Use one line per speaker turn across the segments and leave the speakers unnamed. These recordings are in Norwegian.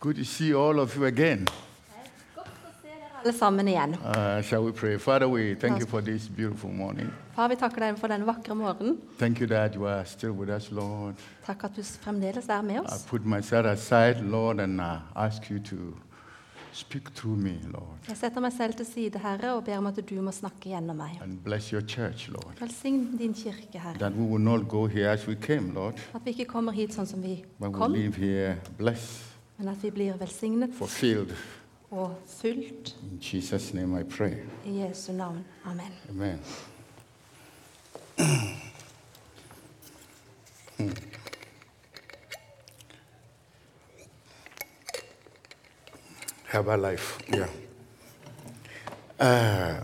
Good to see all of you again.
alle sammen igjen.
Uh, shall we pray? Father, we thank you for this beautiful morning.
Far, vi takker deg for den vakre morgenen.
Thank you that you are still with us, Lord.
Takk at du fremdeles er med
I
oss.
put myself aside, Lord, and I ask you to speak through me, Lord,
Jeg setter meg selv til side, Herre, og ber om at du må snakke gjennom meg.
and bless your church, Lord.
Velsign din kirke, Herre.
That we will not go here as we came, Lord,
At vi ikke kommer hit sånn som vi
but we
kom,
leave here blessed,
men at vi blir velsignet
fulfilled.
og fulgt
In Jesus' name I pray.
i Jesu navn. Amen.
Amen. Hmm. Herbal life, yeah. Uh,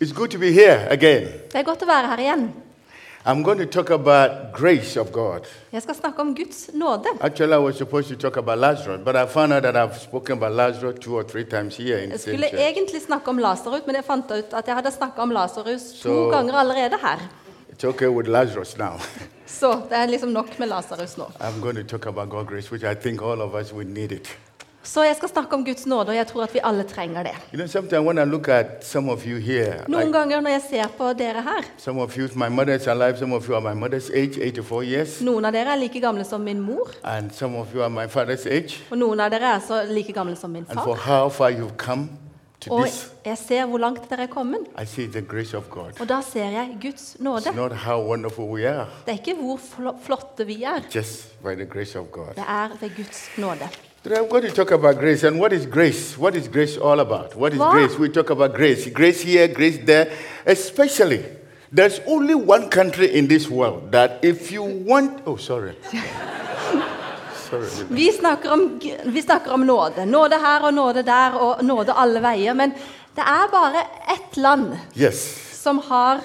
it's good to be here again.
Det er godt å være her igjen.
I'm going to talk about grace of God.
Jeg skal snakke om Guds nåde.
Actually, I was supposed to talk about Lazarus, but I found out that I've spoken about Lazarus two or three times here in
Jeg
this
skulle
church.
egentlig snakke om Lasarus, men jeg fant ut at jeg hadde snakka om Lasarus to
Så-
ganger allerede her.
It's okay with Lazarus now.
Så det er liksom nok med Lasarus nå.
I'm going to talk about God's grace, which I think all of us would need it.
Så jeg skal snakke om Guds nåde, og jeg tror at vi alle trenger det.
You know, sometimes when I look at some of you here,
Noen
like
ganger når jeg ser på dere her
some of you, my mother is alive, some of you are my mother's age, 84 years,
Noen av dere er like gamle som min mor,
and some of you are my father's age,
og noen av dere er så like gamle som min
and for
far.
how far you've come to
Og
this,
jeg ser hvor langt dere er kommet,
I see the grace of God.
og da ser jeg Guds
It's
nåde.
not how wonderful we are,
Det er ikke hvor fl- flotte vi er,
just by the grace of God.
det er ved Guds nåde.
Today I'm going to talk about grace, and what is grace? What is grace all about? What is
Wow.
grace? We talk about grace, grace here, grace there, especially. There's only one country in this world that if you want, oh, sorry. sorry.
Vi snakker, om, g- vi snakker om nåde. Nåde her og nåde der og nåde alle veier. Men det er bare ett land
Yes.
som har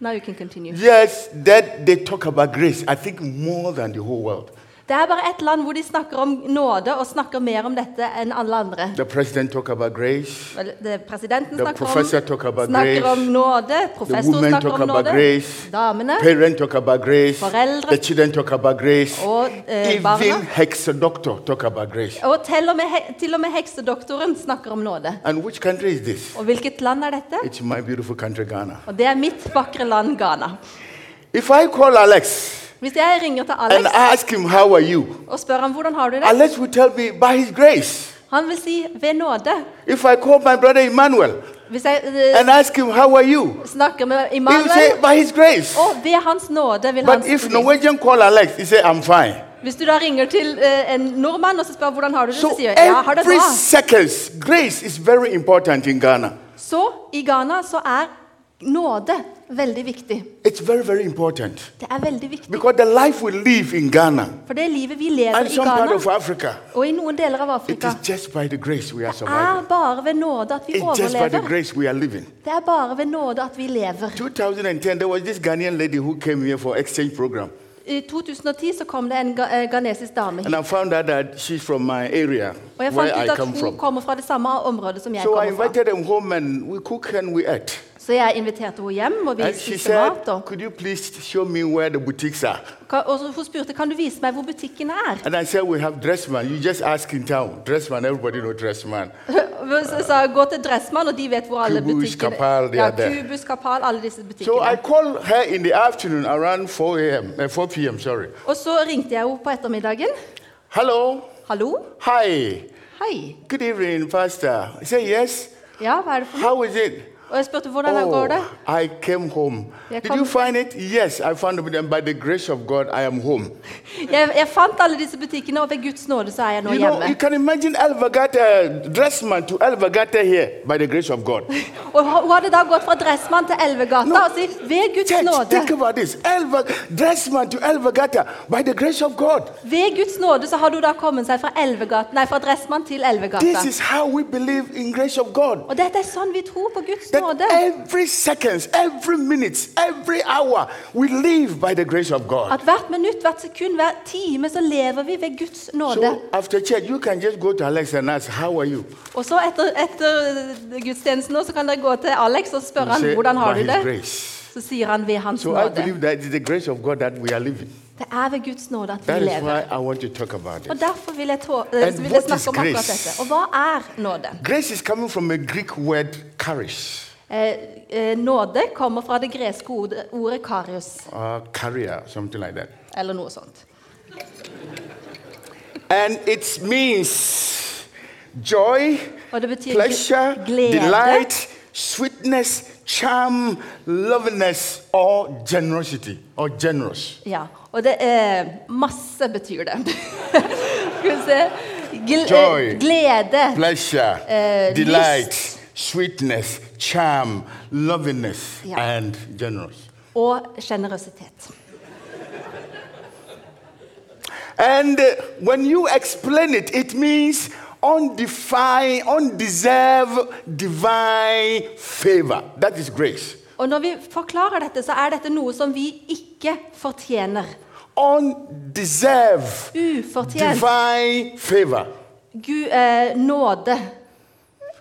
Now you can continue.
Yes, that they talk about grace, I think more than the whole world.
Det er bare ett land hvor de snakker om nåde og snakker mer om dette enn alle andre.
The president talk about grace,
Vel, det Presidenten
The
snakker
professor
om,
talk about
snakker
grace.
om nåde,
the
professoren
women
snakker
talk
om
about
nåde,
grace,
damene
parent talk about grace,
Foreldre.
the children talk about grace,
og eh, barna.
even hexadoctor talk about grace.
Og til og, med, he- til og med heksedoktoren snakker om nåde.
And which country is this?
Og hvilket land er dette?
It's my beautiful country, Ghana.
Og det er mitt vakre land, Ghana.
If I call Alex
Hvis jeg ringer til
and
Alex
ask him, How are you?
og spør ham hvordan har du det,
Alex will tell me, By his grace.
han vil si 'ved nåde'.
If I call my brother Emmanuel
Hvis jeg eh,
and ask him, How are you?
snakker med
He will say,
Immanuel
By his grace.
og 'ved hans nåde' vil han
But if
si.
Norwegian call Alex, he say, I'm fine.
Hvis du da ringer til eh, en nordmann og så spør hvordan har du det, så
So
sier jeg ja, har det
every
bra.
seconds, grace is very important in Ghana.
Så i Ghana så er nåde veldig viktig.
It's very, very important.
Det er veldig viktig.
Because the life we live in Ghana
For det livet vi lever
and
i
some part
Ghana,
of Africa,
og i noen deler av
it
Afrika,
is just by the grace we are surviving.
er bare ved nåde at vi
It's just by the
overlever.
grace we are living.
Det er bare ved nåde at vi lever.
2010, there was this Ghanaian lady who came here for exchange program.
I 2010 så kom det en ga- eh, ghanesisk dame hit.
And I found out that she's from my area,
Og
where
jeg fant ut
I
at
come
hun
from.
kommer fra det samme området som jeg
So I
kommer fra.
invited them home and we cook and we ate.
Så jeg inviterte henne hjem, og vi
And she
spiste mat.
said,
Og,
Could you please show me where the boutiques are?
Ka- og så hun spurte kan du vise meg hvor butikkene er.
And I said, We have Dressman. You just ask in town. Dressman, everybody know Dressman.
Så sa gå til Dressmann, og de vet hvor alle
Kubus,
butikkene
Kapal, de
ja,
er der.
Kubus, Kapal, alle disse
So I
butikkene.
called her in the afternoon around 4 a.m. eh, 4 p.m. Sorry.
Og så ringte jeg henne på ettermiddagen.
Hello.
Hallo?
Hi.
Hei.
Good evening, Pastor. I said, Yes.
Ja, hva er det for noe?
How is it? "Oh,
Og jeg spurte hvordan her går det.
I came home.
Yeah,
Did
come-
you find it? Yes, I found it. And by the grace of God, I am home.
Jeg, jeg fant alle disse butikkene, og ved Guds nåde så er jeg nå
You know,
hjemme.
you can imagine Elvagata, Dressman to Elvagata here, by the grace of God.
Og hun hadde da gått fra Dressmann til Elvegata
No.
og si ved Guds
Church,
nåde.
think about this. Elva, Dressman to Elvagata, by the grace of God.
Ved Guds nåde så har du da kommet seg fra, Elvegata, nei, fra Dressmann til Elvegata.
This is how we believe in grace of God.
Og dette er sånn vi tror på Guds
That
nåde.
every seconds, every minutes, every hour, we live by the grace of God.
At hvert minutt, hvert sekund, hver time så lever vi ved Guds nåde.
So after church, you can just go to Alex and ask, "How are you?"
Og så etter, etter gudstjenesten nå, så kan dere gå til Alex og
You
spørre han
say,
hvordan har
"By
du
His
det.
grace."
Så sier han ved hans
So I
nåde.
believe that it's the grace of God that we are living.
Det er ved Guds nåde at
That
vi
is
lever.
why I want to talk about
Og
it.
Derfor vil jeg, tå- eh,
And
vil
what
jeg
is
snakke om akkurat
grace?
dette. Og hva er nåde?
Grace is coming from a Greek word, charis,
Eh, eh, nåde kommer fra det greske ordet, ordet karius,
or career, something like that.
eller noe sånt.
And it means joy,
Og det betyr
pleasure,
gl- glede,
delight, sweetness, charm, loveliness, or generosity, or generous.
Ja, og det er masse betyr det. Skal vi se Gl
Joy.
eh, Glede.
Pleasure,
Eh,
delight,
list.
sweetness, charm, loveliness,
Ja.
and generous.
Og sjenerøsitet.
And uh, when you explain it, it means undefined, undeserved, divine favor. That is grace.
Og når vi forklarer dette, så er dette noe som vi ikke fortjener.
Undeserved,
Ufortjent.
divine favor.
Gud, eh, nåde.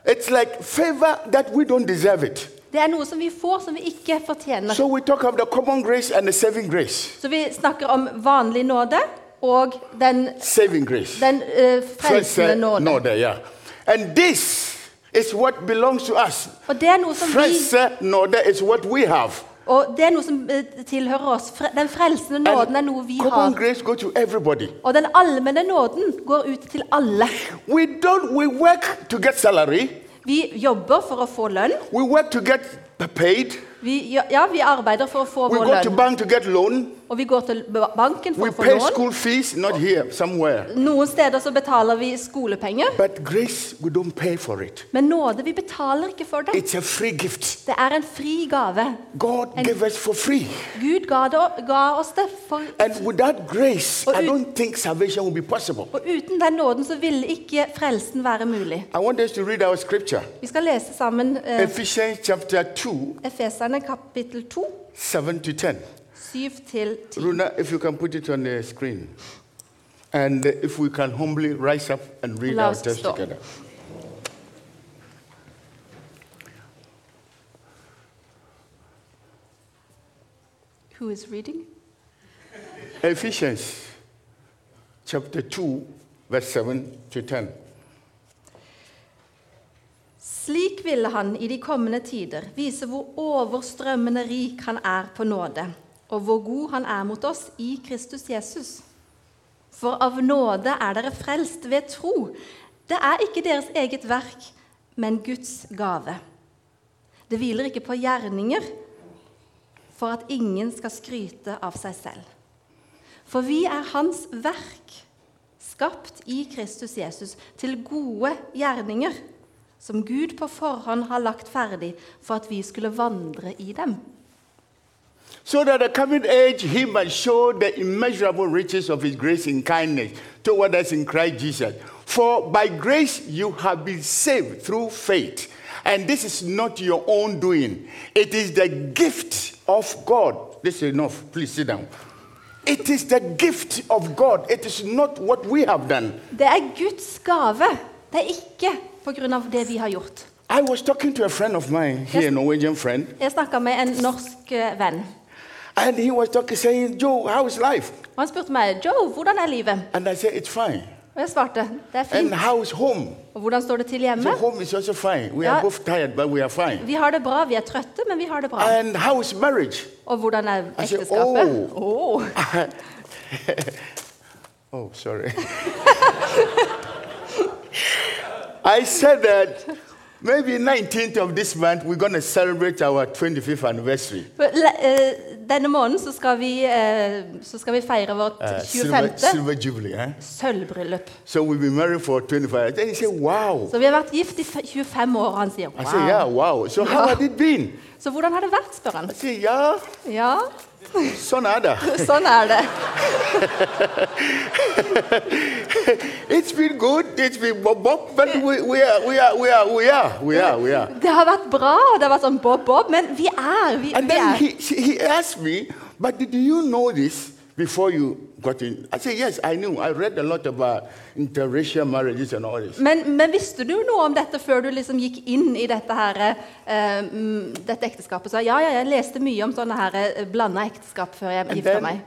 It's like favor that we don't deserve it.
Det er noe som vi får som vi ikke fortjener.
So we talk of the common grace and the saving grace.
Så vi snakker om vanlig nåde og den,
Saving grace.
den eh, frelsende
Frelse-
nåde.
Nåde, yeah. And this is what belongs to us.
Og det er noe som, vi,
Frelse nåde is what we have.
og det er noe som eh, tilhører oss. Fre- Den frelsende nåden er noe vi
common
har.
grace go to everybody.
Og den allmenne nåden går ut til alle.
We don't. We work to get salary.
Vi jobber for å få lønn.
We work to get p- paid.
Vi, ja, ja, vi arbeider for å få
We
vår
go to
lønn.
bank to get loan.
Og vi går til ba- banken for
We
å få
pay
lån.
school fees. Not here, somewhere.
Noen steder så betaler vi skolepenger,
But grace, we don't pay for it.
men nåde, vi betaler ikke for det.
It's a free gift.
Det er en fri gave.
God
And-
gave us for free.
Gud ga, det, ga oss det for
And without grace,
But
I
Oh, you-
don't think salvation will be possible.
Og uten den nåden så ville ikke frelsen være mulig.
I want us to read our scripture.
Vi skal lese sammen eh,
Ephesians chapter 2,
Efeserne kapittel 2,
7 to 10.
7 til 10.
Runa, if you can put it on the screen. And if we can humbly rise up and read
La
our
oss
text
stå.
together.
Who is reading?
Ephesians chapter 2, verse 7 to 10.
Slik ville han i de kommende tider vise hvor overstrømmende rik han er på nåde, og hvor god han er mot oss i Kristus Jesus. For av nåde er dere frelst ved tro. Det er ikke deres eget verk, men Guds gave. Det hviler ikke på gjerninger for at ingen skal skryte av seg selv. For vi er Hans verk, skapt i Kristus Jesus, til gode gjerninger, som Gud på forhånd har lagt ferdig for at vi skulle vandre i dem.
So that the coming age he might show the immeasurable riches of his grace in kindness toward us in Christ Jesus. For by grace you have been saved through faith. And this is not your own doing, it is the gift of God. This is enough. Please sit down. It is the gift of God. It is not what we have done.
Det er Guds gave. Det er ikke pga. det vi har gjort.
I was talking to a friend of mine here, a
Yes.
Norwegian friend.
Jeg snakka med en norsk eh, venn.
And he was talking, saying, Joe, how is life?
Og han spurte meg Joe, hvordan er livet?
And I said, it's fine.
Og jeg svarte det er
And
fint.
how is home?
Og hvordan står det til
So
hjemme?
home is also fine. We are
Yeah.
both tired, but we are fine.
Vi har det bra. Vi er trøtte, men vi har det bra.
And how is marriage?
Og hvordan er
Jeg sier,
ekteskapet? Åh.
Oh, sorry. I said that maybe 19th of this month, we're going to celebrate our 25th anniversary.
For le- eh, Denne måneden så skal vi, eh, så skal vi feire vårt
Uh, silver,
25.
silver Jubilee, eh?
sølvbryllup.
So we've been married for 25 Then he said, wow.
Så vi har vært gift i f- 25 år, og han sier.
I said, yeah,
Wow.
wow. So how had it been?
Så hvordan har det vært, spør han.
I said, yeah,
Ja,
son other.
sånn er det.
It's been good. It's been bob, bob but we, we are, we are, we are, we are, we are, we are.
Det har vært bra, og det har vært sånn bob-bob, men vi er vi,
And
vi
then
er.
he, she- he asked me, but did you know this before you got in? I said, yes, I knew. I read a lot about interracial marriages and all this.
Men, men visste du noe om dette før du liksom gikk inn i dette, her, eh, mm, dette ekteskapet? Så ja, ja, jeg leste mye om sånne her eh, blanda ekteskap før jeg
And
gifta
then-
meg.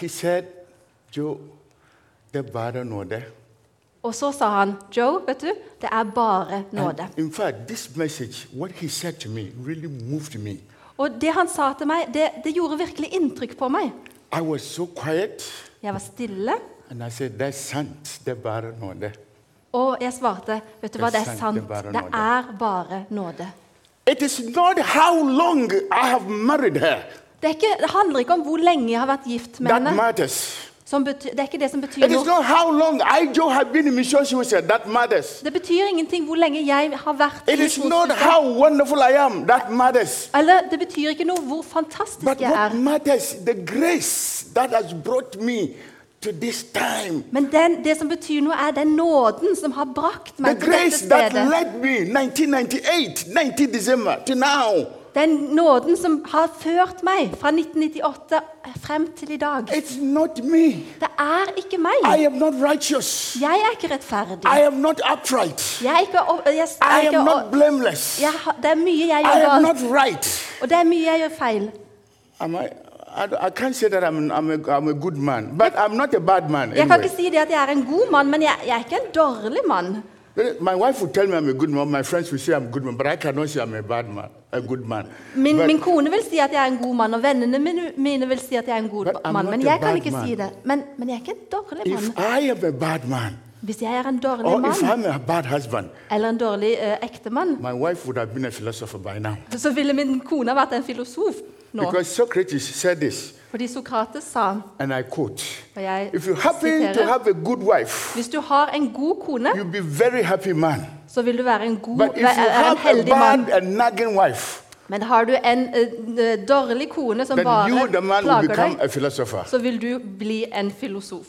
He said, Joe, the bare nåde.
Og så sa han, Joe, vet du, det er bare nåde.
In fact, this message, what he said to me, really moved me.
Og det han sa til meg, det, det gjorde virkelig inntrykk på meg.
I was so quiet,
Jeg var stille,
and I said, That's sant, the bare nåde.
og jeg svarte, vet du hva, det er sant. Det er bare nåde.
It is not how long I have married her
Det, er ikke, det handler ikke om hvor lenge jeg har vært gift med
that
henne.
matters.
Som bety, det er ikke det som betyr
It is
noe.
not how long I, Joe, have been in mission suicide that matters.
Det betyr ingenting hvor lenge jeg har vært
It
i
is not
trosbekjennelse.
how wonderful I am that matters.
Eller det betyr ikke noe hvor
But
fantastisk jeg
what
er.
matters, the grace that has brought me to this time.
Men den, det som betyr noe, er den nåden som har brakt
The
meg til dette
grace that
stedet.
led me 1998, 19 December to now.
Den nåden som har ført meg fra 1998 frem til i dag.
It's not me.
Det er ikke
I
meg.
am not righteous.
Jeg er ikke rettferdig.
I am not upright.
Jeg er ikke, o- jeg,
I
er ikke
am not
o-
blameless.
jeg, har- Det er mye jeg
I
gjør
am
galt,
not right.
og det er mye jeg gjør feil.
Am I, I, I can't say that I'm, I'm, a, I'm a good man, but I'm not a bad man.
Jeg kan
Anyway.
ikke si det at jeg er en god mann, men jeg, jeg er ikke en dårlig mann.
My wife will tell me I'm a good man. My friends will say I'm a good man, but I cannot say I'm a bad man, a good man.
Min,
but,
min kone vil si at jeg er en god mann, og vennene mine, mine vil si at jeg er en god
But I'm
mann.
not
Men
a
jeg kan
bad
ikke
man.
si det. Men, men jeg er ikke en dårlig mann.
if I am a bad man,
Hvis jeg er en dårlig
or if
mann,
I'm a bad husband,
eller en dårlig eh, ektemann,
my wife would have been a philosopher by now.
så ville min kone vært en filosof nå.
Because Socrates said this,
Fordi Sokrates sa,
and I quote
og jeg
If you happen to
siterer
have a good wife,
Hvis du har en god kone,
you'll be very happy man.
så vil du være en, god,
But if you
være en
have a
heldig mann.
bad and nagging wife,
Men har du en eh, dårlig kone som
then you,
bare
the man, will
plager
become
deg,
a philosopher.
så vil du bli en filosof.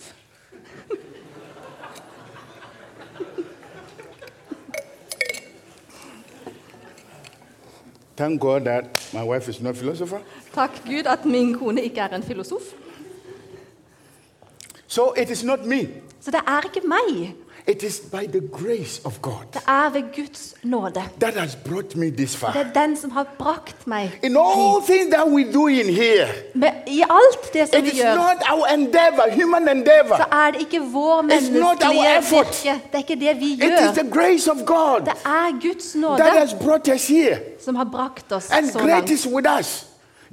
Thank God that my wife is not a philosopher.
Takk Gud at min kone ikke er en filosof.
So it is not me.
Så det er ikke meg.
It is by the grace of God
Det er ved Guds nåde.
that has brought me this
Det
far.
er den som har brakt meg
In all things that we do in here,
Men I alt det som
it
vi
is
gjør,
not our endeavor, human
så
endeavor.
er det ikke vår
It's not our
menneskelige
effort.
virke. Det er ikke det vi
It is
gjør.
the grace of God
Det er Guds nåde
that has brought us here.
som har brakt oss
And
så
great
langt.
is with us.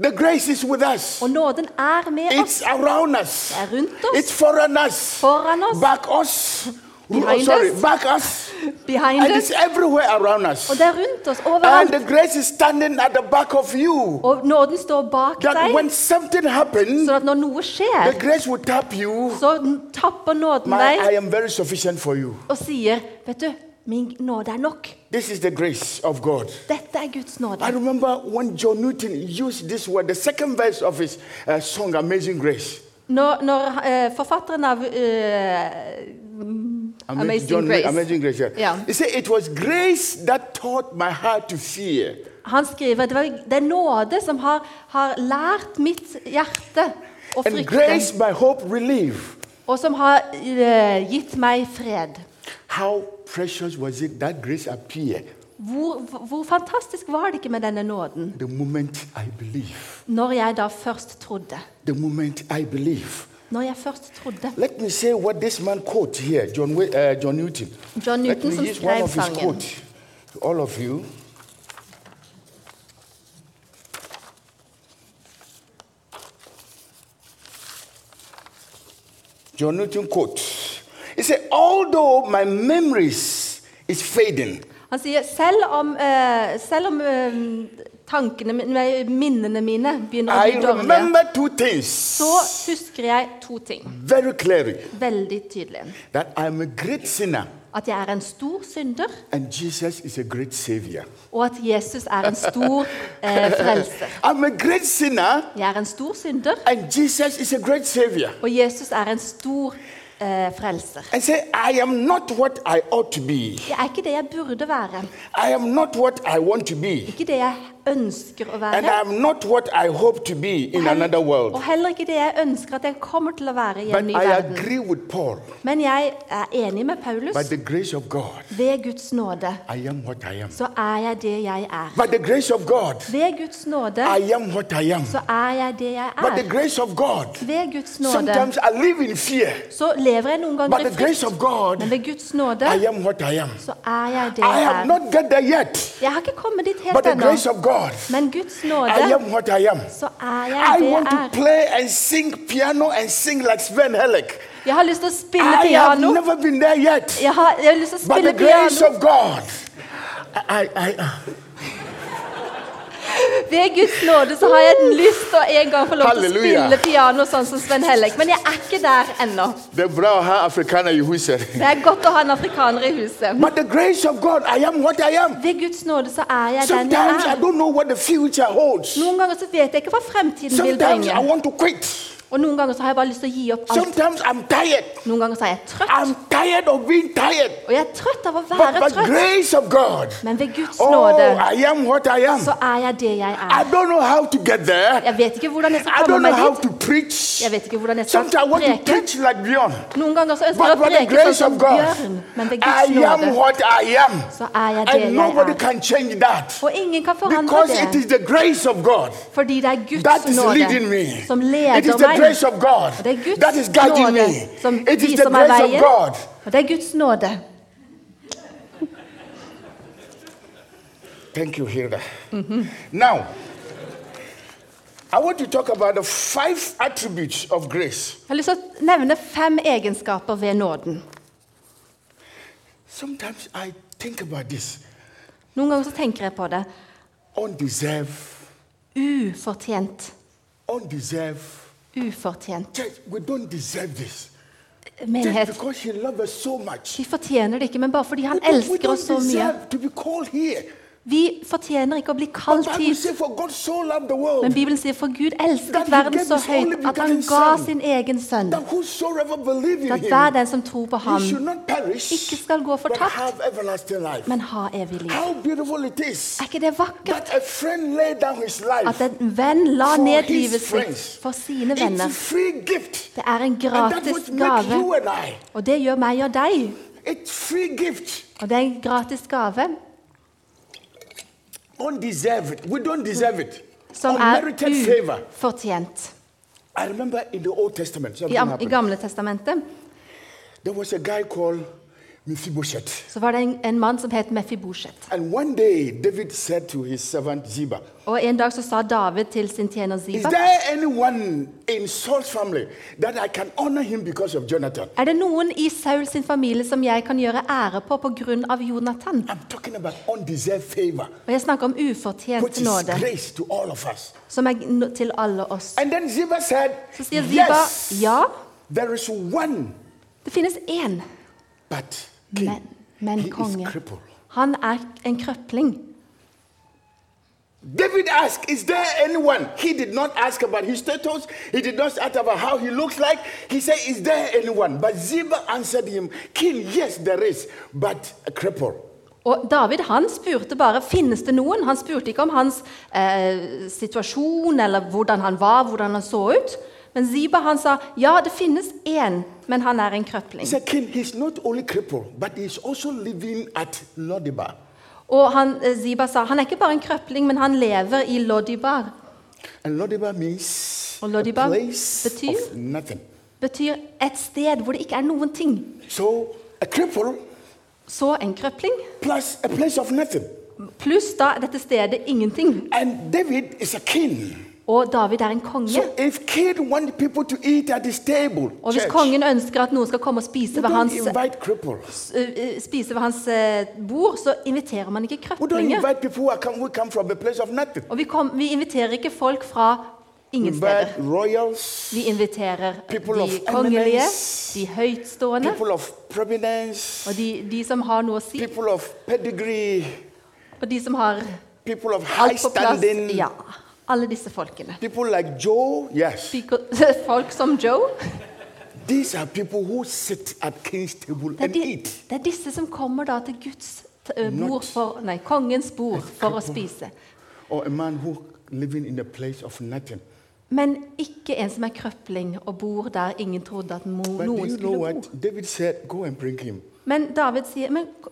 The grace is with us.
Og nåden er med oss.
It's around us.
Det er rundt oss.
It's foreign us.
Foran oss.
Back us.
Behind
oh, sorry,
us.
back us.
Behind
And it's
us.
everywhere around us.
Og det er rundt oss.
And
Overalt.
the grace is standing at the back of you.
Og nåden står bak
That
deg.
when something happens,
Sånn at når
the
noe skjer,
grace will tap you.
så n- tapper nåden
My,
deg
I am very sufficient for you.
og sier Vet du, min nåde er nok.
This is the grace of God.
Dette er Guds nåde.
I remember when John Newton used this word, the second verse of his uh, song, Amazing Grace.
Når, når eh, forfatteren av eh,
Ama-
Amazing
John-
Grace.
Amazing Grace, yeah.
Yeah.
He said, It was grace that taught my heart to fear.
Han skriver det, var, det er nåde som har, har lært mitt hjerte å
And
frykte,
grace by hope relieve.
og som har eh, gitt meg fred.
How precious was it that grace appeared
Hvor, hvor fantastisk var det ikke med denne nåden
the moment I believe?
når jeg da først trodde?
The moment I believe.
Når jeg først trodde.
Let me say what this man quote here, John, Wa- uh, John Newton.
John
Let
Newton
me
som
use one
skrev
of his
sangen.
quotes to all of you. John Newton quote. He said, although my memories is fading,
Han sier selv om, eh, selv om eh, tankene mine, nei, minnene mine begynner å
I
bli dårlige,
remember two things
så husker jeg to ting
very clearly
veldig tydelig.
that I'm a great sinner
At jeg er en stor synder,
and Jesus is a great savior.
og at Jesus er en stor eh, frelser.
I'm a great sinner
Jeg er en stor synder,
and Jesus is a great savior.
og Jesus er en stor eh, frelser.
And say, I am not what I ought to be.
Jeg er ikke det jeg burde være,
I am not what I want to be.
ikke det jeg ønsker å
And
være.
I'm not what I hope to be in another
og
world.
heller ikke det jeg ønsker at jeg kommer til å være i en
But
ny
I
verden.
agree with Paul.
Men jeg er enig med Paulus.
By the grace of God,
Ved Guds nåde
I am what I am.
så er jeg det jeg er.
By the grace of God,
Ved Guds nåde
I am what I am.
så er jeg det jeg
By the
er.
grace of God,
Ved Guds nåde
sometimes I live in fear.
så lever jeg noen
By
ganger i
the grace
frykt.
of God,
Men ved Guds nåde
I am what I am.
så er jeg det
I
jeg
have
er.
not got there yet.
Jeg har ikke kommet dit
By
helt
the
ennå.
grace of God,
Men Guds
I
nåde
am what I am.
så er jeg
I
det jeg
want to
er.
play and sing piano and sing like Sven Helek.
Jeg har lyst til å spille
I have
piano.
never been there yet.
Jeg har, jeg har lyst til å
By the
spille
grace
piano.
of God, I, I, I,
Ved Guds nåde så har jeg lyst til å en gang få lov til å
Halleluja.
spille piano sånn som Sven Hellek. Men jeg er ikke der ennå.
det er bra å ha afrikanere i huset.
Det er godt å ha en afrikaner i huset.
But the grace of God, I am what I am.
Ved Guds nåde så er jeg den
Sometimes
jeg
I
er.
don't know what the future holds.
Noen ganger så vet jeg ikke hva fremtiden vil
Sometimes I
bringe.
want to quit.
Og noen ganger så har jeg bare lyst til å gi opp alt.
Sometimes I'm tired.
Noen ganger så er jeg trøtt.
I'm tired of being tired.
Og jeg er trøtt av å
But
være
by
trøtt.
grace of God,
Men ved Guds
oh,
nåde
I am what I am.
så er jeg det jeg
I
er.
don't know how to get there.
Jeg vet ikke hvordan jeg
I
skal
don't
komme
know
meg
how
dit.
to preach.
Jeg vet ikke hvordan jeg skal
Sometimes I want to
preke.
preach like Bjorn.
Noen ganger så ønsker
But
jeg å
by the
preke sånn
grace
som
of God,
Bjørn, men ved
I
Guds nåde
am what I am.
så er jeg det
And nobody
jeg er.
can change that.
Og ingen kan forandre
Because it
det,
is the grace of God
fordi det er
that
Guds
is leading
nåde
me.
som
It is
leder
the
meg.
grace of God
Og det er
that is
Guds
guiding
nåde
me.
som
It is the
viser meg
grace of
veien.
God.
Og det er Guds nåde.
Thank you, Hilda. Now, I want to talk about the five attributes of grace.
Jeg har lyst til å nevne fem egenskaper ved nåden.
Sometimes I think about this
Noen ganger så tenker jeg på det.
undeserved,
Ufortjent.
undeserved.
Ufortjent.
Church, we don't deserve this. Just
Menighet.
because He loves us so much.
Vi fortjener det ikke, men bare fordi
We
han
don't, we
elsker
don't
oss så mye.
deserve to be called here.
Vi fortjener ikke å bli
But
kalt
Bible
hit.
says, for God so loved the world
Men Bibelen sier for Gud
That
elsket
he
verden
gave
så
his only
høyt at han
begotten
ga
son.
sin egen sønn,
that whosoever believes in
for at hver
Him,
den som tror på
he should
ham,
not perish,
ikke skal gå
but
fortapt,
have everlasting life.
men ha evig liv.
How beautiful it is
Er ikke det vakkert
that a friend laid down his life
at en venn la
for
ned
his
livet sitt
friends.
for sine
It's a
venner?
free gift.
Det er en
And that
gratis
would make
gave,
you and I.
og det gjør meg og deg.
It's free gift.
Og det er en gratis gave
Undeserved. We don't deserve it.
som er
Unmerited favor.
ufortjent.
I remember in the Old Testament
I,
something
Am- I
happened.
Gamle testamentet
There was a guy called Mephibosheth.
så var det en, en mann som het Mefiboshet.
And one day David said to his servant Ziba,
Og en dag så sa David til sin tjener
Is
Ziba
there anyone in Saul's family that I can honor him because of Jonathan?
Er det noen i Saul sin familie som jeg kan gjøre ære på pga. Jonathan?
I'm talking about undeserved favor,
Og jeg snakker om
which
ufortjent
is
nåde,
grace to all of us.
som er gn- til alle oss.
And then Ziba said,
Så sier Ziba
Yes,
ja,
there is one,
det finnes én,
but king,
men, men
he is
konge.
crippled.
Han er en krøpling.
David asked, Is there anyone? He did not ask about his status. He did not ask about how he looks like. He said, Is there anyone? But Ziba answered him, King, yes, there is, but a cripple.
Og David han spurte bare finnes det noen. Han spurte ikke om hans eh, situasjon eller hvordan han var, hvordan han så ut. Men Ziba han sa ja, det finnes én, men han er en
He
krøpling.
said, King, he's not only crippled, but he's also living at Lodibar.
Og han, eh, Ziba sa han er ikke bare en krøpling, men han lever i Lodibar.
And Lodibar means
Og Lodibar
a place
betyr-
of nothing.
betyr et sted hvor det ikke er noen ting.
So a cripple
Så en krøpling,
plus a place of nothing.
pluss da dette stedet ingenting.
And David is a king.
Og David er en konge.
So if king want people to eat at his table,
Og hvis
church,
kongen ønsker at noen skal komme og
we
spise ved
don't
hans,
invite cripples.
eh, spise ved hans eh, bord, så inviterer man ikke
We don't
krøplinger.
invite people who are come, who come from a place of nothing.
Og vi, kom, vi inviterer ikke folk fra
We
ingen
invite
steder.
royals,
Vi inviterer
People of
de kongelige,
eminence.
de høytstående,
people of prominence,
og de, de som har noe å si,
people of pedigree,
og de som har
people of high
alt på plass.
standing,
Ja, alle disse folkene.
people like Joe. Yes.
Syko- Folk som Joe.
These are people who sit at king's table
Det er,
and
de,
eat.
det er disse som kommer da til Guds t- eh, ø,
Not
bord for, nei, kongens bord for å
couple.
spise.
or a man who living in a place of nothing.
men ikke en som er krøpling og bor der ingen trodde at mo-
But do
noen
you know
skulle bo.
what? David said, Go and bring him.
Men David sier, men k-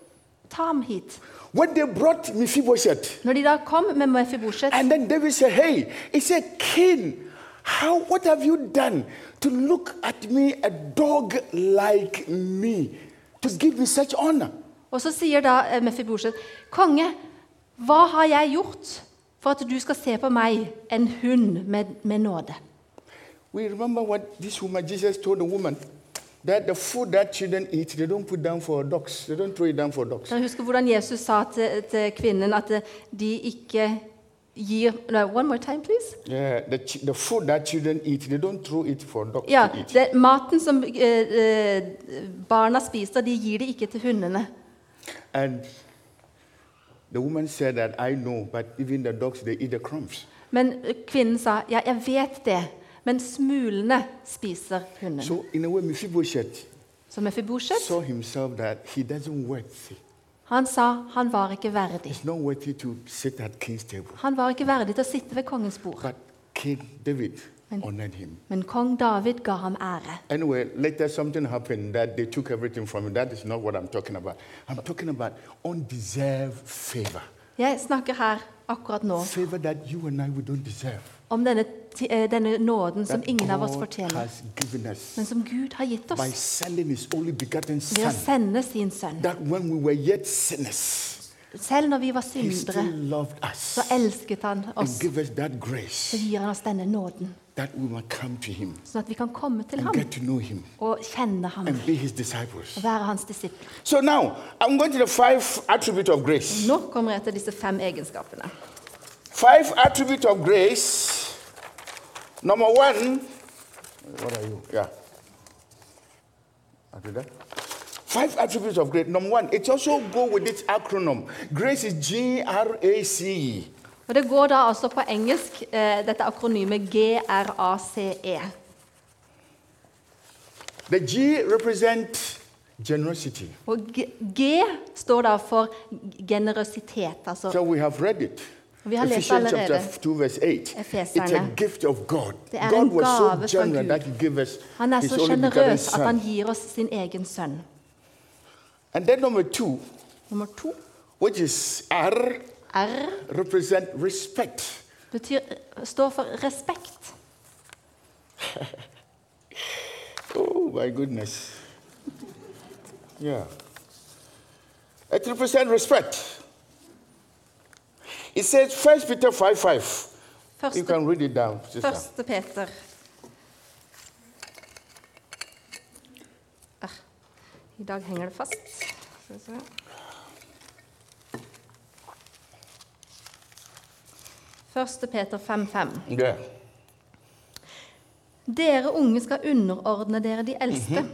ta ham hit.
When they brought Mephibosheth,
Når de da kom med Mefiboshet,
and then David said, Hey, he said, King, how, what have you done to look at me, a dog like me, to give me such honor?
og så sier da eh, Mefiboshet, konge, hva har jeg gjort for at du skal se på meg, en hund med, med nåde?
We remember what this woman, Jesus told the woman that the food that children eat, they don't put down for dogs, they don't throw it down for dogs.
Dere husker hvordan Jesus sa til, til kvinnen at eh, de ikke gir no, One more time, please.
Yeah, the, chi- the food that children eat, they don't throw it for dogs
Ja,
to eat.
det, Maten som eh, eh, barna spiser, de gir de ikke til hundene.
And the woman said that I know, but even the dogs, they eat the crumbs.
Men kvinnen sa, 'Ja, jeg vet det, men smulene spiser hunden'.
So in a way, Mephibosheth
Så Mefiboshet
saw himself that he doesn't worthy.
han sa han var ikke verdig.
He's not worthy to sit at king's table.
Han var ikke verdig til å sitte ved kongens bord.
But King David
And-
honored him.
Men kong David ga ham ære.
Anyway, later something happened that they took everything from him. That is not what I'm talking about. I'm talking about undeserved favor.
Jeg snakker her akkurat nå
Favor that you and I we don't deserve.
om denne, ti- eh, denne nåden som
that
ingen av oss
God
fortjener.
has given us
men som Gud har gitt
by
oss
sending his only begotten
ved å
son.
sende sin sønn.
That when we were yet sinners,
Selv når vi var
he still
syndere,
loved us
så elsket han
and
oss.
gave us that
Så
grace
gir han oss denne nåden,
that we might come to him
sånn at vi kan komme til
and
ham
get to know him
og kjenne ham
and
og
be his disciples.
være hans disipler.
So now I'm going to the five attributes of grace.
Nå kommer jeg til disse fem egenskapene.
Five attributes of grace. Number one, what are you? Yeah. I did that. Five attributes of grace. Number one, it also go with its acronym. Grace is G R A C E.
Og Det går da altså på engelsk, eh, dette akronymet GRACE.
The G represents generosity.
Og G, G står da for generøsitet. Altså,
So we have read it.
Oh. Vi har lest
Ephesians chapter
allerede.
2, verse 8. It's a
Efeserne.
gift of God.
Det er
God
en
was so
gave fra
generous
Gud.
that he gave us
han er
his
så
only begotten
sjenerøs at
son.
han gir oss sin egen sønn.
And then number two,
Nummer to
which is R,
R
represent respect.
betyr, eh, står for respekt.
Oh my goodness. Yeah. It represents respect. It says First Peter 5 5. You
Første,
can read it down, sister.
første Peter. Ah, I dag henger det fast. Skal vi se. Første Peter 5,5.
Yeah.
Dere unge skal underordne dere de eldste.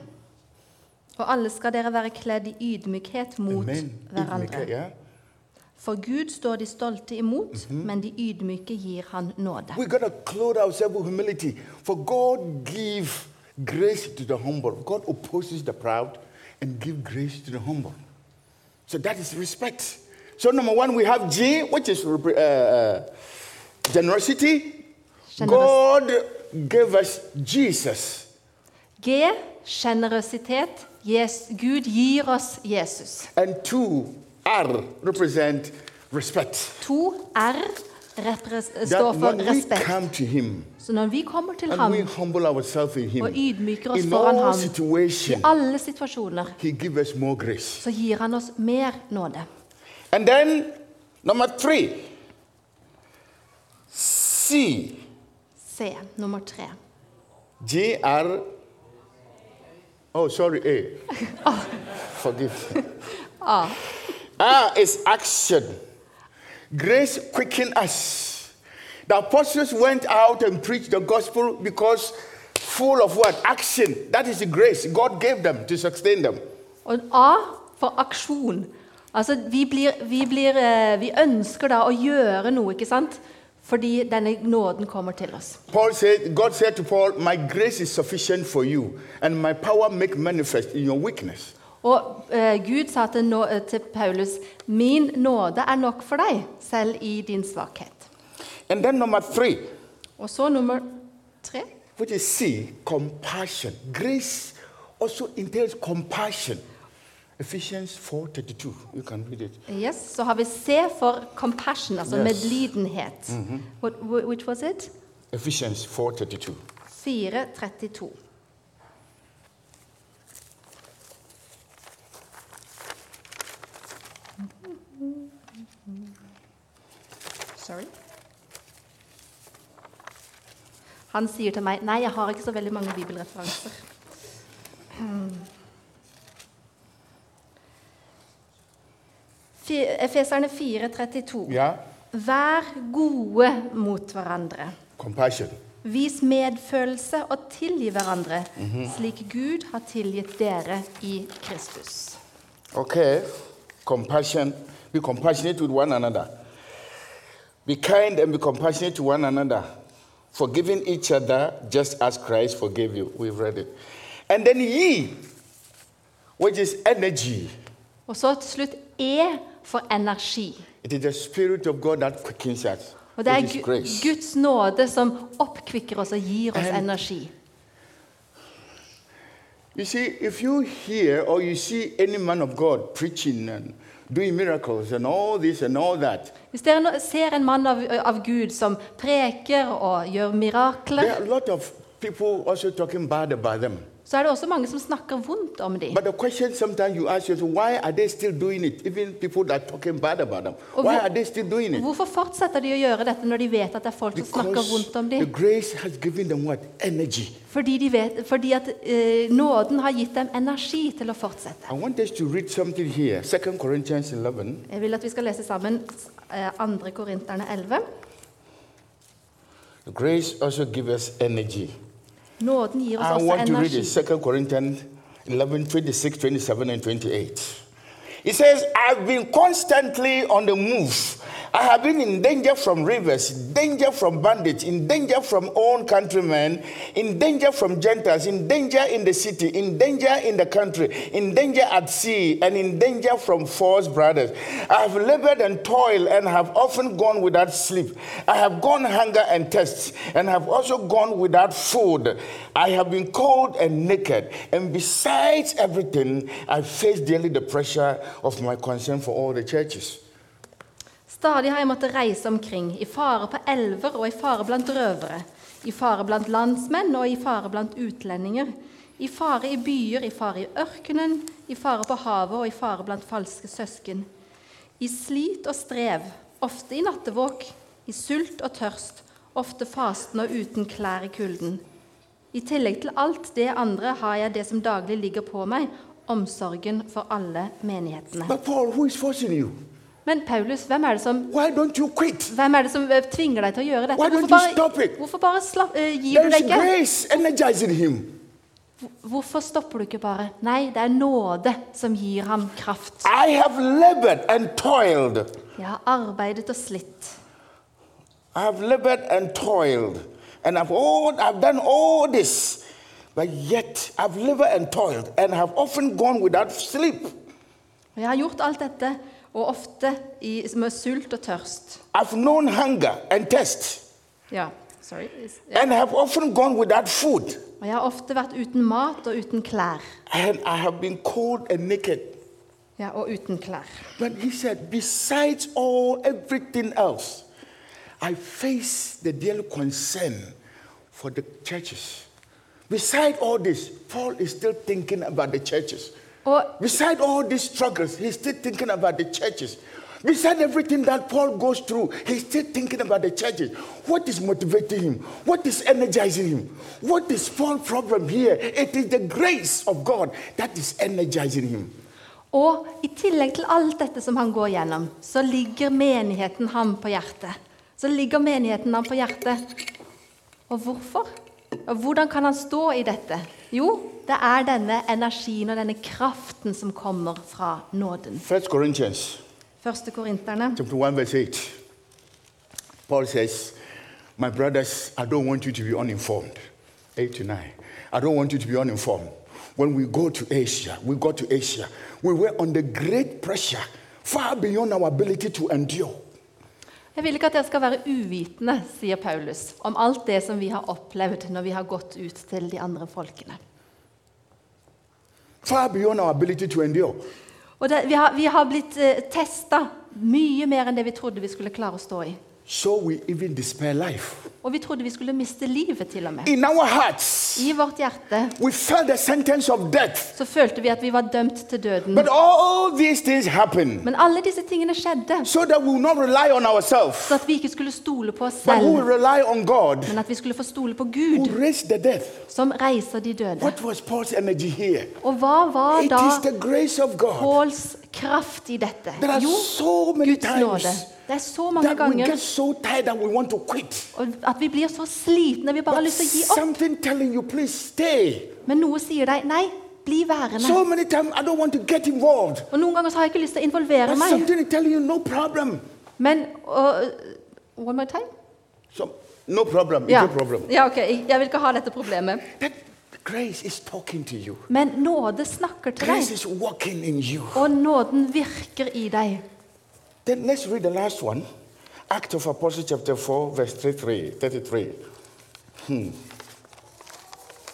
Og alle skal dere være kledd i ydmykhet mot
Amen.
hverandre.
Ydmykhet, yeah.
For Gud står de stolte imot, men de ydmyke gir han nåde.
We gotta clothe ourselves with humility. For God give grace to the humble. God opposes the proud and give grace to the humble. So that is respect. So number one, we have G, which is repre- uh, uh, generosity.
Generous-
God gave us Jesus,
G. Sjenerøsitet. Jes- Gud gir oss Jesus.
and two R represent respect.
To R repres- står
That
for
when we
respekt.
come to Him
Så når vi kommer til
and
ham
we humble ourselves in Him,
og ydmyker oss
in
foran
all
ham i
situations,
alle situasjoner,
He gives us more grace.
så gir han oss mer nåde.
And then number three, C,
C. Nummer tre.
G R. Oh, sorry, A. Forgive.
A.
R is action. Grace quicken us. The apostles went out and preached the gospel because full of what? Action. That is the grace God gave them to sustain them.
Og A for aksjon. Altså, vi, blir, vi, blir, eh, vi ønsker da å gjøre noe, ikke sant? Fordi denne nåden kommer til oss.
Paul said, God said to Paul, My grace is sufficient for you, and my power make manifest in your weakness.
Og eh, Gud sa til, nå, eh, til Paulus, min nåde er nok for deg, selv i din svakhet.
And then number three,
Og så nummer tre.
which is C, compassion. Grace also entails compassion. Ephesians 4:32. You can read it.
Yes, så har vi C for compassion, altså
Yes.
medlidenhet. What, wh- which was it?
Ephesians 4:32.
4.32. Sorry. Han sier til meg Nei, jeg har ikke så veldig mange bibelreferanser. Fi- Efeserne 4,32.
Yeah?
Vær gode mot hverandre.
Compassion.
Vis medfølelse og tilgi hverandre,
Mhm.
slik Gud har tilgitt dere i Kristus.
Okay? Compassion. Be compassionate with one another. Be kind and be compassionate to one another, forgiving each other just as Christ forgave you. We've read it. And then ye, which is energy.
Og så til slutt E for energi.
It is the Spirit of God that quickens us,
Og det er
which is
Gu-
grace.
Guds nåde som oppkvikker oss og gir oss
And-
energi.
You see, if you hear or you see any man of God preaching and doing miracles and all this and all that,
Hvis dere nå ser en mann av, av Gud som preker og gjør
there are
mirakler,
a lot of people also talking bad about them.
så er det også mange som snakker vondt om dem.
But the question sometimes you ask yourself, why are they still doing it? Even people that are talking bad about them,
Og
why
hvor-
are they still doing it?
Hvorfor fortsetter de å gjøre dette når de vet at det er folk som snakker
Because
vondt om
the
dem?
grace has given them what? Energy.
Fordi, de vet, fordi at eh, nåden har gitt dem energi til å fortsette.
I want us to read something here. 2 Corinthians 11.
Jeg vil at vi skal lese sammen eh, 2. Korinterne 11.
The grace also gives us energy.
Nåden gir oss
I
også
want to read
energi.
it. 2 Corinthians 11, 26, 27, and 28. It says, I've been constantly on the move. I have been in danger from rivers, danger from bandits, in danger from own countrymen, in danger from Gentiles, in danger in the city, in danger in the country, in danger at sea, and in danger from false brothers. I have labored and toiled and have often gone without sleep. I have gone hunger and thirst, and have also gone without food. I have been cold and naked, and besides everything, I face daily the pressure of my concern for all the churches.
Stadig har jeg måttet reise omkring, i fare på elver og i fare blant røvere, i fare blant landsmenn og i fare blant utlendinger, i fare i byer, i fare i ørkenen, i fare på havet og i fare blant falske søsken, i slit og strev, ofte i nattevåk, i sult og tørst, ofte fasten og uten klær i kulden. I tillegg til alt det andre har jeg det som daglig ligger på meg, omsorgen for alle menighetene.
But Paul, who is forcing you?
Men Paulus, hvem er det som
Why don't you quit?
Hvem er det som eh, tvinger deg til å gjøre dette?
Why don't
Hvorfor
you stop
bare,
it?
hvorfor bare slapp, eh, gir
There
du deg
is
ikke?
grace energizing him.
Hvorfor stopper du ikke bare? Nei, det er nåde som gir ham kraft.
I have labored and toiled.
Jeg har arbeidet og slitt.
I have labored and toiled, and I've, all, I've done all this, but yet I've labored and toiled, and have often gone without sleep.
Og jeg har gjort alt dette, og ofte i, med sult og tørst.
I've known hunger and thirst,
Ja, sorry. Is- ja.
and have often gone without food,
Og jeg har ofte vært uten mat og uten klær.
and I have been cold and naked.
Ja, og uten klær.
But he said, besides all everything else, I face the daily concern for the churches. Beside all this, Paul is still thinking about the churches.
Og
Beside all these struggles, he's still thinking about the churches. Beside everything that Paul goes through, he's still thinking about the churches. What is motivating him? What is energizing him? What is Paul's problem here? It is the grace of God that is energizing him.
Og i tillegg til alt dette som han går gjennom, så ligger menigheten ham på hjertet. Så ligger menigheten ham på hjertet. Og hvorfor? Og hvordan kan han stå i dette? Jo, det er denne energien og denne kraften som kommer fra nåden.
1 Corinthians
Første Korinterne.
chapter 1, verse 8. Paul says, My brothers, I don't want you to be uninformed. 8 to 9. I don't want you to be uninformed. When we go to Asia, we got to Asia, we were under great pressure, far beyond our ability to endure.
Jeg vil ikke at dere skal være uvitende, sier Paulus, om alt det som vi har opplevd når vi har gått ut til de andre folkene.
far beyond our ability to endure.
Og det, vi, har, vi har blitt eh, testa mye mer enn det vi trodde vi skulle klare å stå i.
So we even despair life.
Og vi trodde vi skulle miste livet, til og med.
In our hearts,
I vårt hjerte
we felt the sentence of death.
så følte vi at vi var dømt til døden.
But all these things happen
Men alle disse tingene skjedde,
so that we will not rely on ourselves,
så at vi ikke skulle stole på oss
but we will
selv,
rely on God
men at vi skulle få stole på
who
Gud,
raised the death.
som reiser de døde.
What was Paul's energy here?
Og hva var
It
da
is the grace of God.
Pauls kraft i dette?
There are
Jo,
so many
Guds nåde.
times
Det er så mange
that we
ganger
get so tired that we want to quit.
og at vi blir så slitne. Vi bare har
But
lyst til å gi opp.
something telling you, please stay.
Men noe sier deg nei, bli værende.
So many times I don't want to get involved.
Og noen ganger så har jeg ikke lyst til å involvere
But
meg.
something is telling you, no problem.
Men og, One more time?
So, no problem.
Ja.
No problem.
ja, ok. Jeg vil ikke ha dette problemet.
That grace is talking to you.
Men nåde snakker til
Grace
deg.
is working in you.
Og nåden virker i deg.
Then let's read the last one. Act of Apostles chapter 4, verse 33. 33.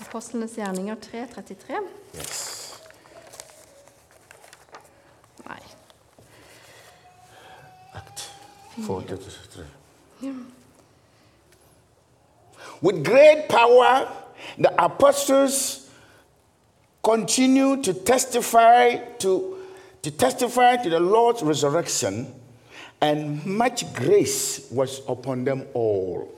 Apostlenes gjerninger 3.33.
Yes.
Nei.
Act 4, 33. With great power, the apostles continue to testify to, to testify to the Lord's resurrection, and much grace was upon them all.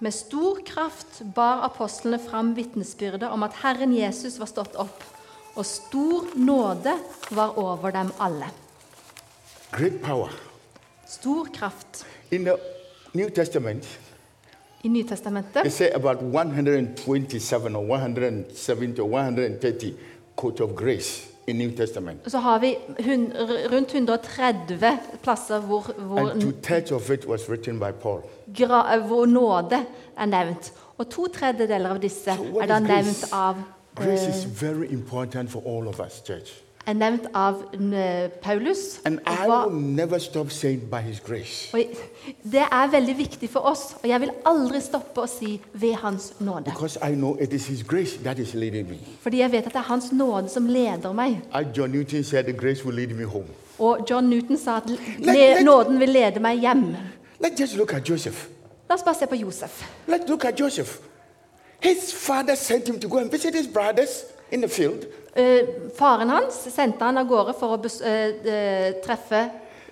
Med stor kraft bar apostlene fram vitnesbyrdet om at Herren Jesus var stått opp, og stor nåde var over dem alle.
Great power.
Stor kraft.
In the New Testament,
I
they
Nytestamentet
say about 127 or 170 or 130 coat of grace in New Testament.
så har vi hun- r- rundt 130 plasser hvor, hvor,
And two-thirds of it was written by Paul.
gra, hvor nåde er nevnt. Og to tredjedeler av disse
So what
er da
is
nevnt
grace?
av,
Grace is very important for all of us, church.
er nevnt av eh, Paulus.
And
Og
I
hva-
will never stop saying by his grace.
Og det er veldig viktig for oss, og jeg vil aldri stoppe å si 'ved Hans nåde'.
Because I know it is his grace that is leading me.
Fordi jeg vet at det er Hans nåde som leder meg.
As John Newton said, the grace will lead me home.
Og John Newton sa at le
let-
nåden vil lede meg hjem.
Let's just look at Joseph.
La oss bare se på Josef.
Let's look at Joseph. His father sent him to go and visit his brothers in the field.
Eh, faren hans sendte han av gårde for å bes eh, eh, treffe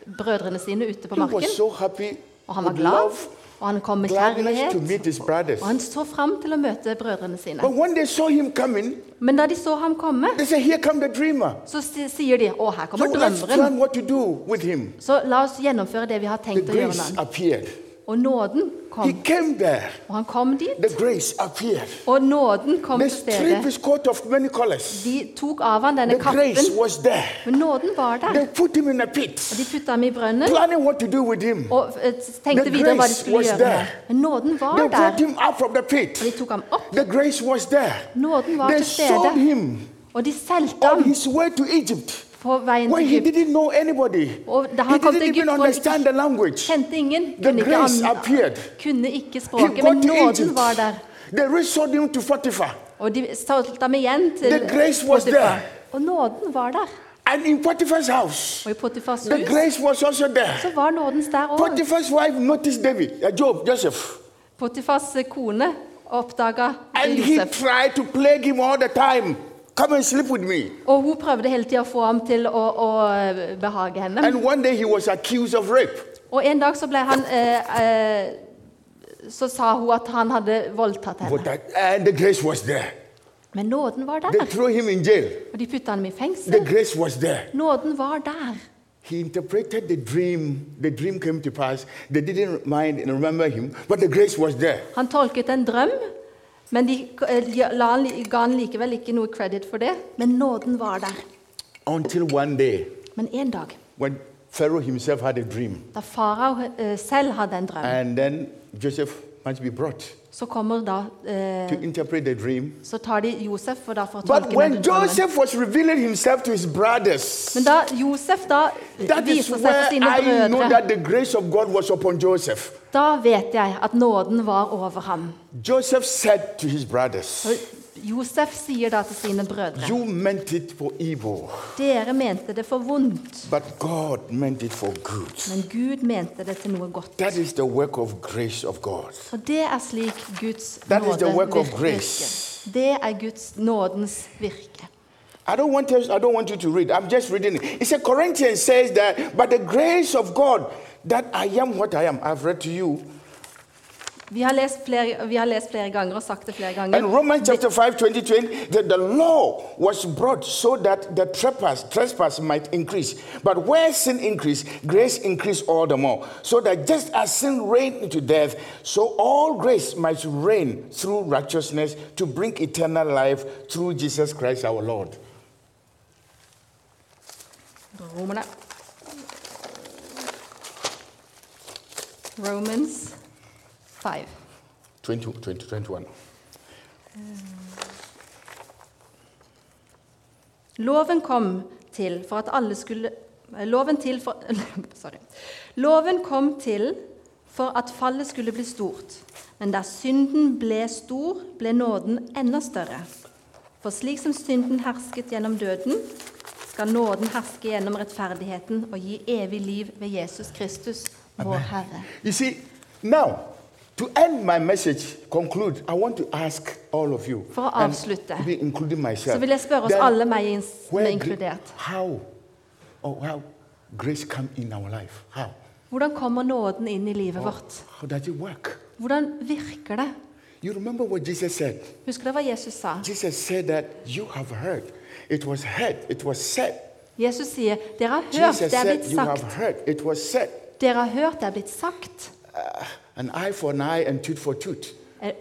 brødrene sine ute på
He was
marken.
so happy
Og han var
with
glad,
love,
og han kom med
gladness to
kjærlighet.
meet his brothers.
Og han så fram til å møte brødrene sine.
But when they saw him coming,
Men da de så ham komme,
they said, Here come the dreamer.
så si- sier de 'Å, her
So
kommer
let's
drømmeren'.
plan what to do with him.
Så la oss gjennomføre det vi har
The
tenkt å gjøre
grace
nå.
appeared.
Og nåden
He
kom.
came there.
Og han kom dit,
The grace appeared.
og nåden kom
They
til
stripped
stedet.
his coat of many colors.
De tok av han denne
The grace
kappen,
was there.
men nåden var der.
They put him in a
Og
pit,
de putta ham i brønnen
planning what to do with him.
og eh, tenkte
The
videre hva de
grace
skulle
was
gjøre.
there.
med. Men nåden var
They brought
der,
him out from the
og de
pit.
tok ham opp.
The grace was there.
Nåden var
They
til
sold
stede,
him
og de solgte
on
ham
his way to Egypt,
på veien
where
til
he
Egypt.
didn't know anybody.
Og da
He
han kom
didn't
til
even
Egypt, og han
understand the
ikke
language.
kjente ingen,
The
kunne ikke,
grace
an,
appeared.
kunne ikke
He
språket, men
got to
nåden var der.
Egypt. They restored him to Potiphar.
Og de solgte ham igjen til
The grace was
Potifar.
there.
Og nåden var der.
And in Potiphar's house,
Og i Potifars
the
hus
grace was also there.
så var nådens der òg.
Potiphar's wife noticed David, uh, Job, Joseph,
Potifars kone oppdaga
and he
Josef.
tried to plague him all the time. Come and sleep with me.
Og hun prøvde hele tida å få ham til å, å eh, behage henne.
And one day he was accused of rape.
Og en dag så ble han eh, eh, Så sa hun at han hadde voldtatt
But
henne.
that, and the grace was there.
Men nåden var
They
der.
threw him in jail.
Og de putta ham i
The
fengsel.
grace was there.
Nåden var der.
He interpreted the dream. The dream came to pass. They didn't mind and remember him, but the grace was there.
Han tolket en drøm, men de eh, ja, la han, ga han likevel ikke noe credit for det. Men nåden var der.
Until one day,
Men en dag,
when Pharaoh himself had a dream,
da farao eh, selv hadde en drøm,
and then Joseph must be brought
Så kommer da eh,
to interpret the dream.
Så tar de Josef og da får
But
tolken
when
den drømmen.
Joseph was revealing himself to his brothers,
Men da Josef da
that is
viser seg for
where
sine
I know
brødre,
that the grace of God was upon Joseph.
da vet jeg at nåden var over ham.
Joseph said to his
Oh,
brothers,
Og Josef sier da til sine brødre
You meant it for evil,
Dere mente det for vondt,
but God meant it for good.
men Gud mente det til noe godt.
That is the work of grace of God.
Og det er slik Guds
That is the
nåde
work of
vir- virker.
grace.
Det er Guds nådens virke.
I don't want us, I don't want you to read. I'm just reading it. It's a Corinthians says that, but the grace of God that I am what I am. I've read to you.
Vi har lest flere, vi har lest flere ganger og sagt det flere ganger.
And Romans chapter 5, 20, 20, that the law was brought so that the trespass, trespass might increase. But where sin increased, grace increased all the more. So that just as sin reigned into death, so all grace might reign through righteousness to bring eternal life through Jesus Christ our Lord.
Romerne. Romans 5.
20, 20, 21.
Loven kom til for at alle skulle Loven til for Sorry. Loven kom til for at fallet skulle bli stort. Men da synden ble stor, ble nåden enda større. For slik som synden hersket gjennom døden, skal nåden herske gjennom rettferdigheten og gi evig liv ved Jesus Kristus, vår Herre.
You see, now, to end my message, conclude, I want to ask all of you,
For å
and
avslutte,
me including myself,
Så vil jeg spørre oss
that
alle, meg ins-
where
meg
gra-
inkludert,
how or how grace come in our life? How?
hvordan kommer nåden inn i livet vårt?
How does it work?
Hvordan virker det?
You remember what Jesus said?
Husker dere hva Jesus sa?
Jesus said that you have heard. It was heard. It was said.
Jesus sier, 'Dere har hørt,
Jesus
det er
said,
blitt
you have
sagt.'
heard. It was said.
Dere har hørt, det er blitt sagt.
Uh, an eye for an eye and tooth for tooth.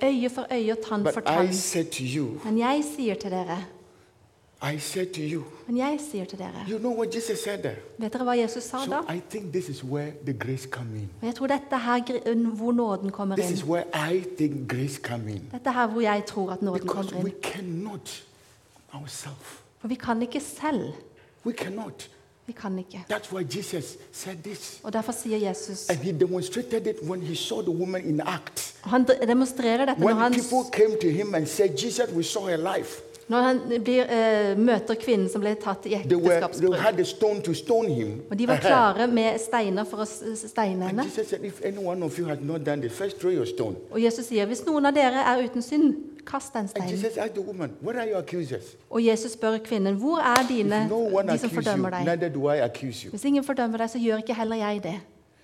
Øye for øye og tann for
But I
tann.
said to you,
Men jeg sier til dere
I said to you,
Men jeg sier til dere
you know what Jesus said there?
Vet dere hva Jesus sa da?
So I think this is where the grace come in.
Og jeg tror dette her gr- hvor nåden kommer
This is
inn.
where I think grace come in.
Dette her hvor jeg tror at nåden
Because
kommer
we
inn.
cannot ourselves.
For vi kan ikke selv.
We cannot.
Vi kan ikke.
That's why Jesus said this.
Og derfor sier Jesus
And he demonstrated it when he saw the woman in act.
Han d- demonstrerer dette når
When
han,
people came to him and said, Jesus, we saw her life.
når han blir, eh, møter kvinnen som ble tatt i
They, were, they
ekteskapsbrudd.
had a stone to stone him. Uh-huh.
Og de var klare med steiner for å s- s- steine
And
henne.
Jesus said, if any one of you has not done this, first throw your stone.
Og Jesus sier, hvis noen av dere er uten synd, kast den
And
steinen.
Jesus asked the woman, what are your accusers?
Og Jesus spør kvinnen, hvor er
If
dine,
no one
de som
accuses you,
fordømmer deg?
neither do I accuse you.
Hvis ingen fordømmer deg, så gjør ikke heller jeg det.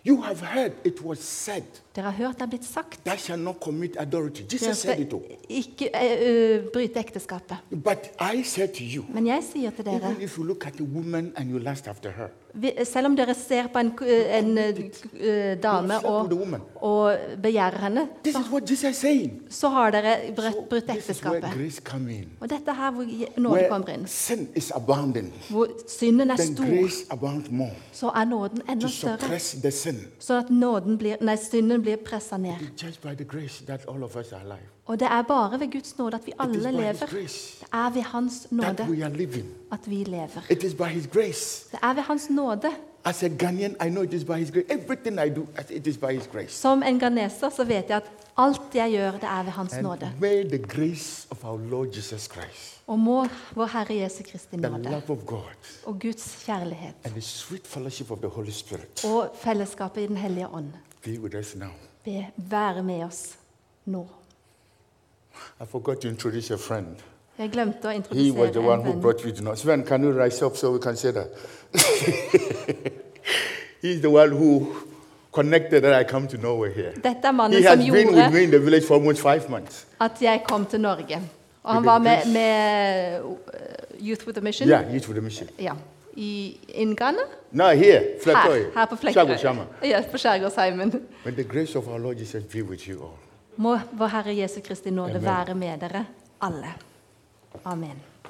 You have heard it was said,
Dere har hørt det er blitt sagt.
Thou shalt not commit adultery.
Dere
Jesus said
skal
it all.
ikke eh, ø, bryte ekteskapet.
But I said to you,
Men jeg sier til dere,
even if you look at a woman and you lust after her,
vi- selv om dere ser på en, k- en ø, k- ø, dame og, og begjærer henne,
this is what Jesus is saying.
så har dere brutt,
So
brutt
this is where
ekteskapet.
grace come in.
Og dette er her hvor je- nåden
Where
kommer inn.
sin is abounding,
Hvor synden er
then
stor,
grace abounds more
så er nåden
to
enda større.
suppress the sin.
Sånn at nåden blir, nei, synden blir pressa ned.
It's just by the grace that all of us are alive.
Og det er bare ved Guds nåde at vi
It
alle
is by His
lever.
grace
Det er ved Hans
that
nåde
we are living.
at vi lever.
It is by His grace.
Det er ved Hans nåde.
As a Ghanaian, I know it is by His grace. Everything I do, it is by His grace.
Som en ghaneser så vet jeg at alt jeg gjør, det er ved Hans nåde.
And may the grace of our Lord Jesus Christ,
Og må vår Herre Jesu Kristi
the
nåde
love of God,
og Guds kjærlighet
and the sweet fellowship of the Holy Spirit
og fellesskapet i Den hellige ånd
be with us now.
be være med oss nå.
I forgot to introduce a friend.
Jeg glemte
He
å
was
introdusere
the one
en
who
venn.
brought you to know. Sven, can you rise up so we can say that? He's the one who connected that I come to Norway here.
Dette er
He has
mannen som
been with
gjorde
me in the village for almost five months.
at jeg kom til Norge. Og han
With
var
the
med,
grace-
med uh, Youth with a Mission.
Yeah, he's with the mission.
Ja. I in Ghana?
Now here,
Her,
Flatoy.
her på Flekkerøy. Ja, på Skjærgårdsheimen.
May the grace of our Lord Jesus be with you all.
Må Vår Herre Jesu Kristi nåde
Amen.
være med dere alle. Amen.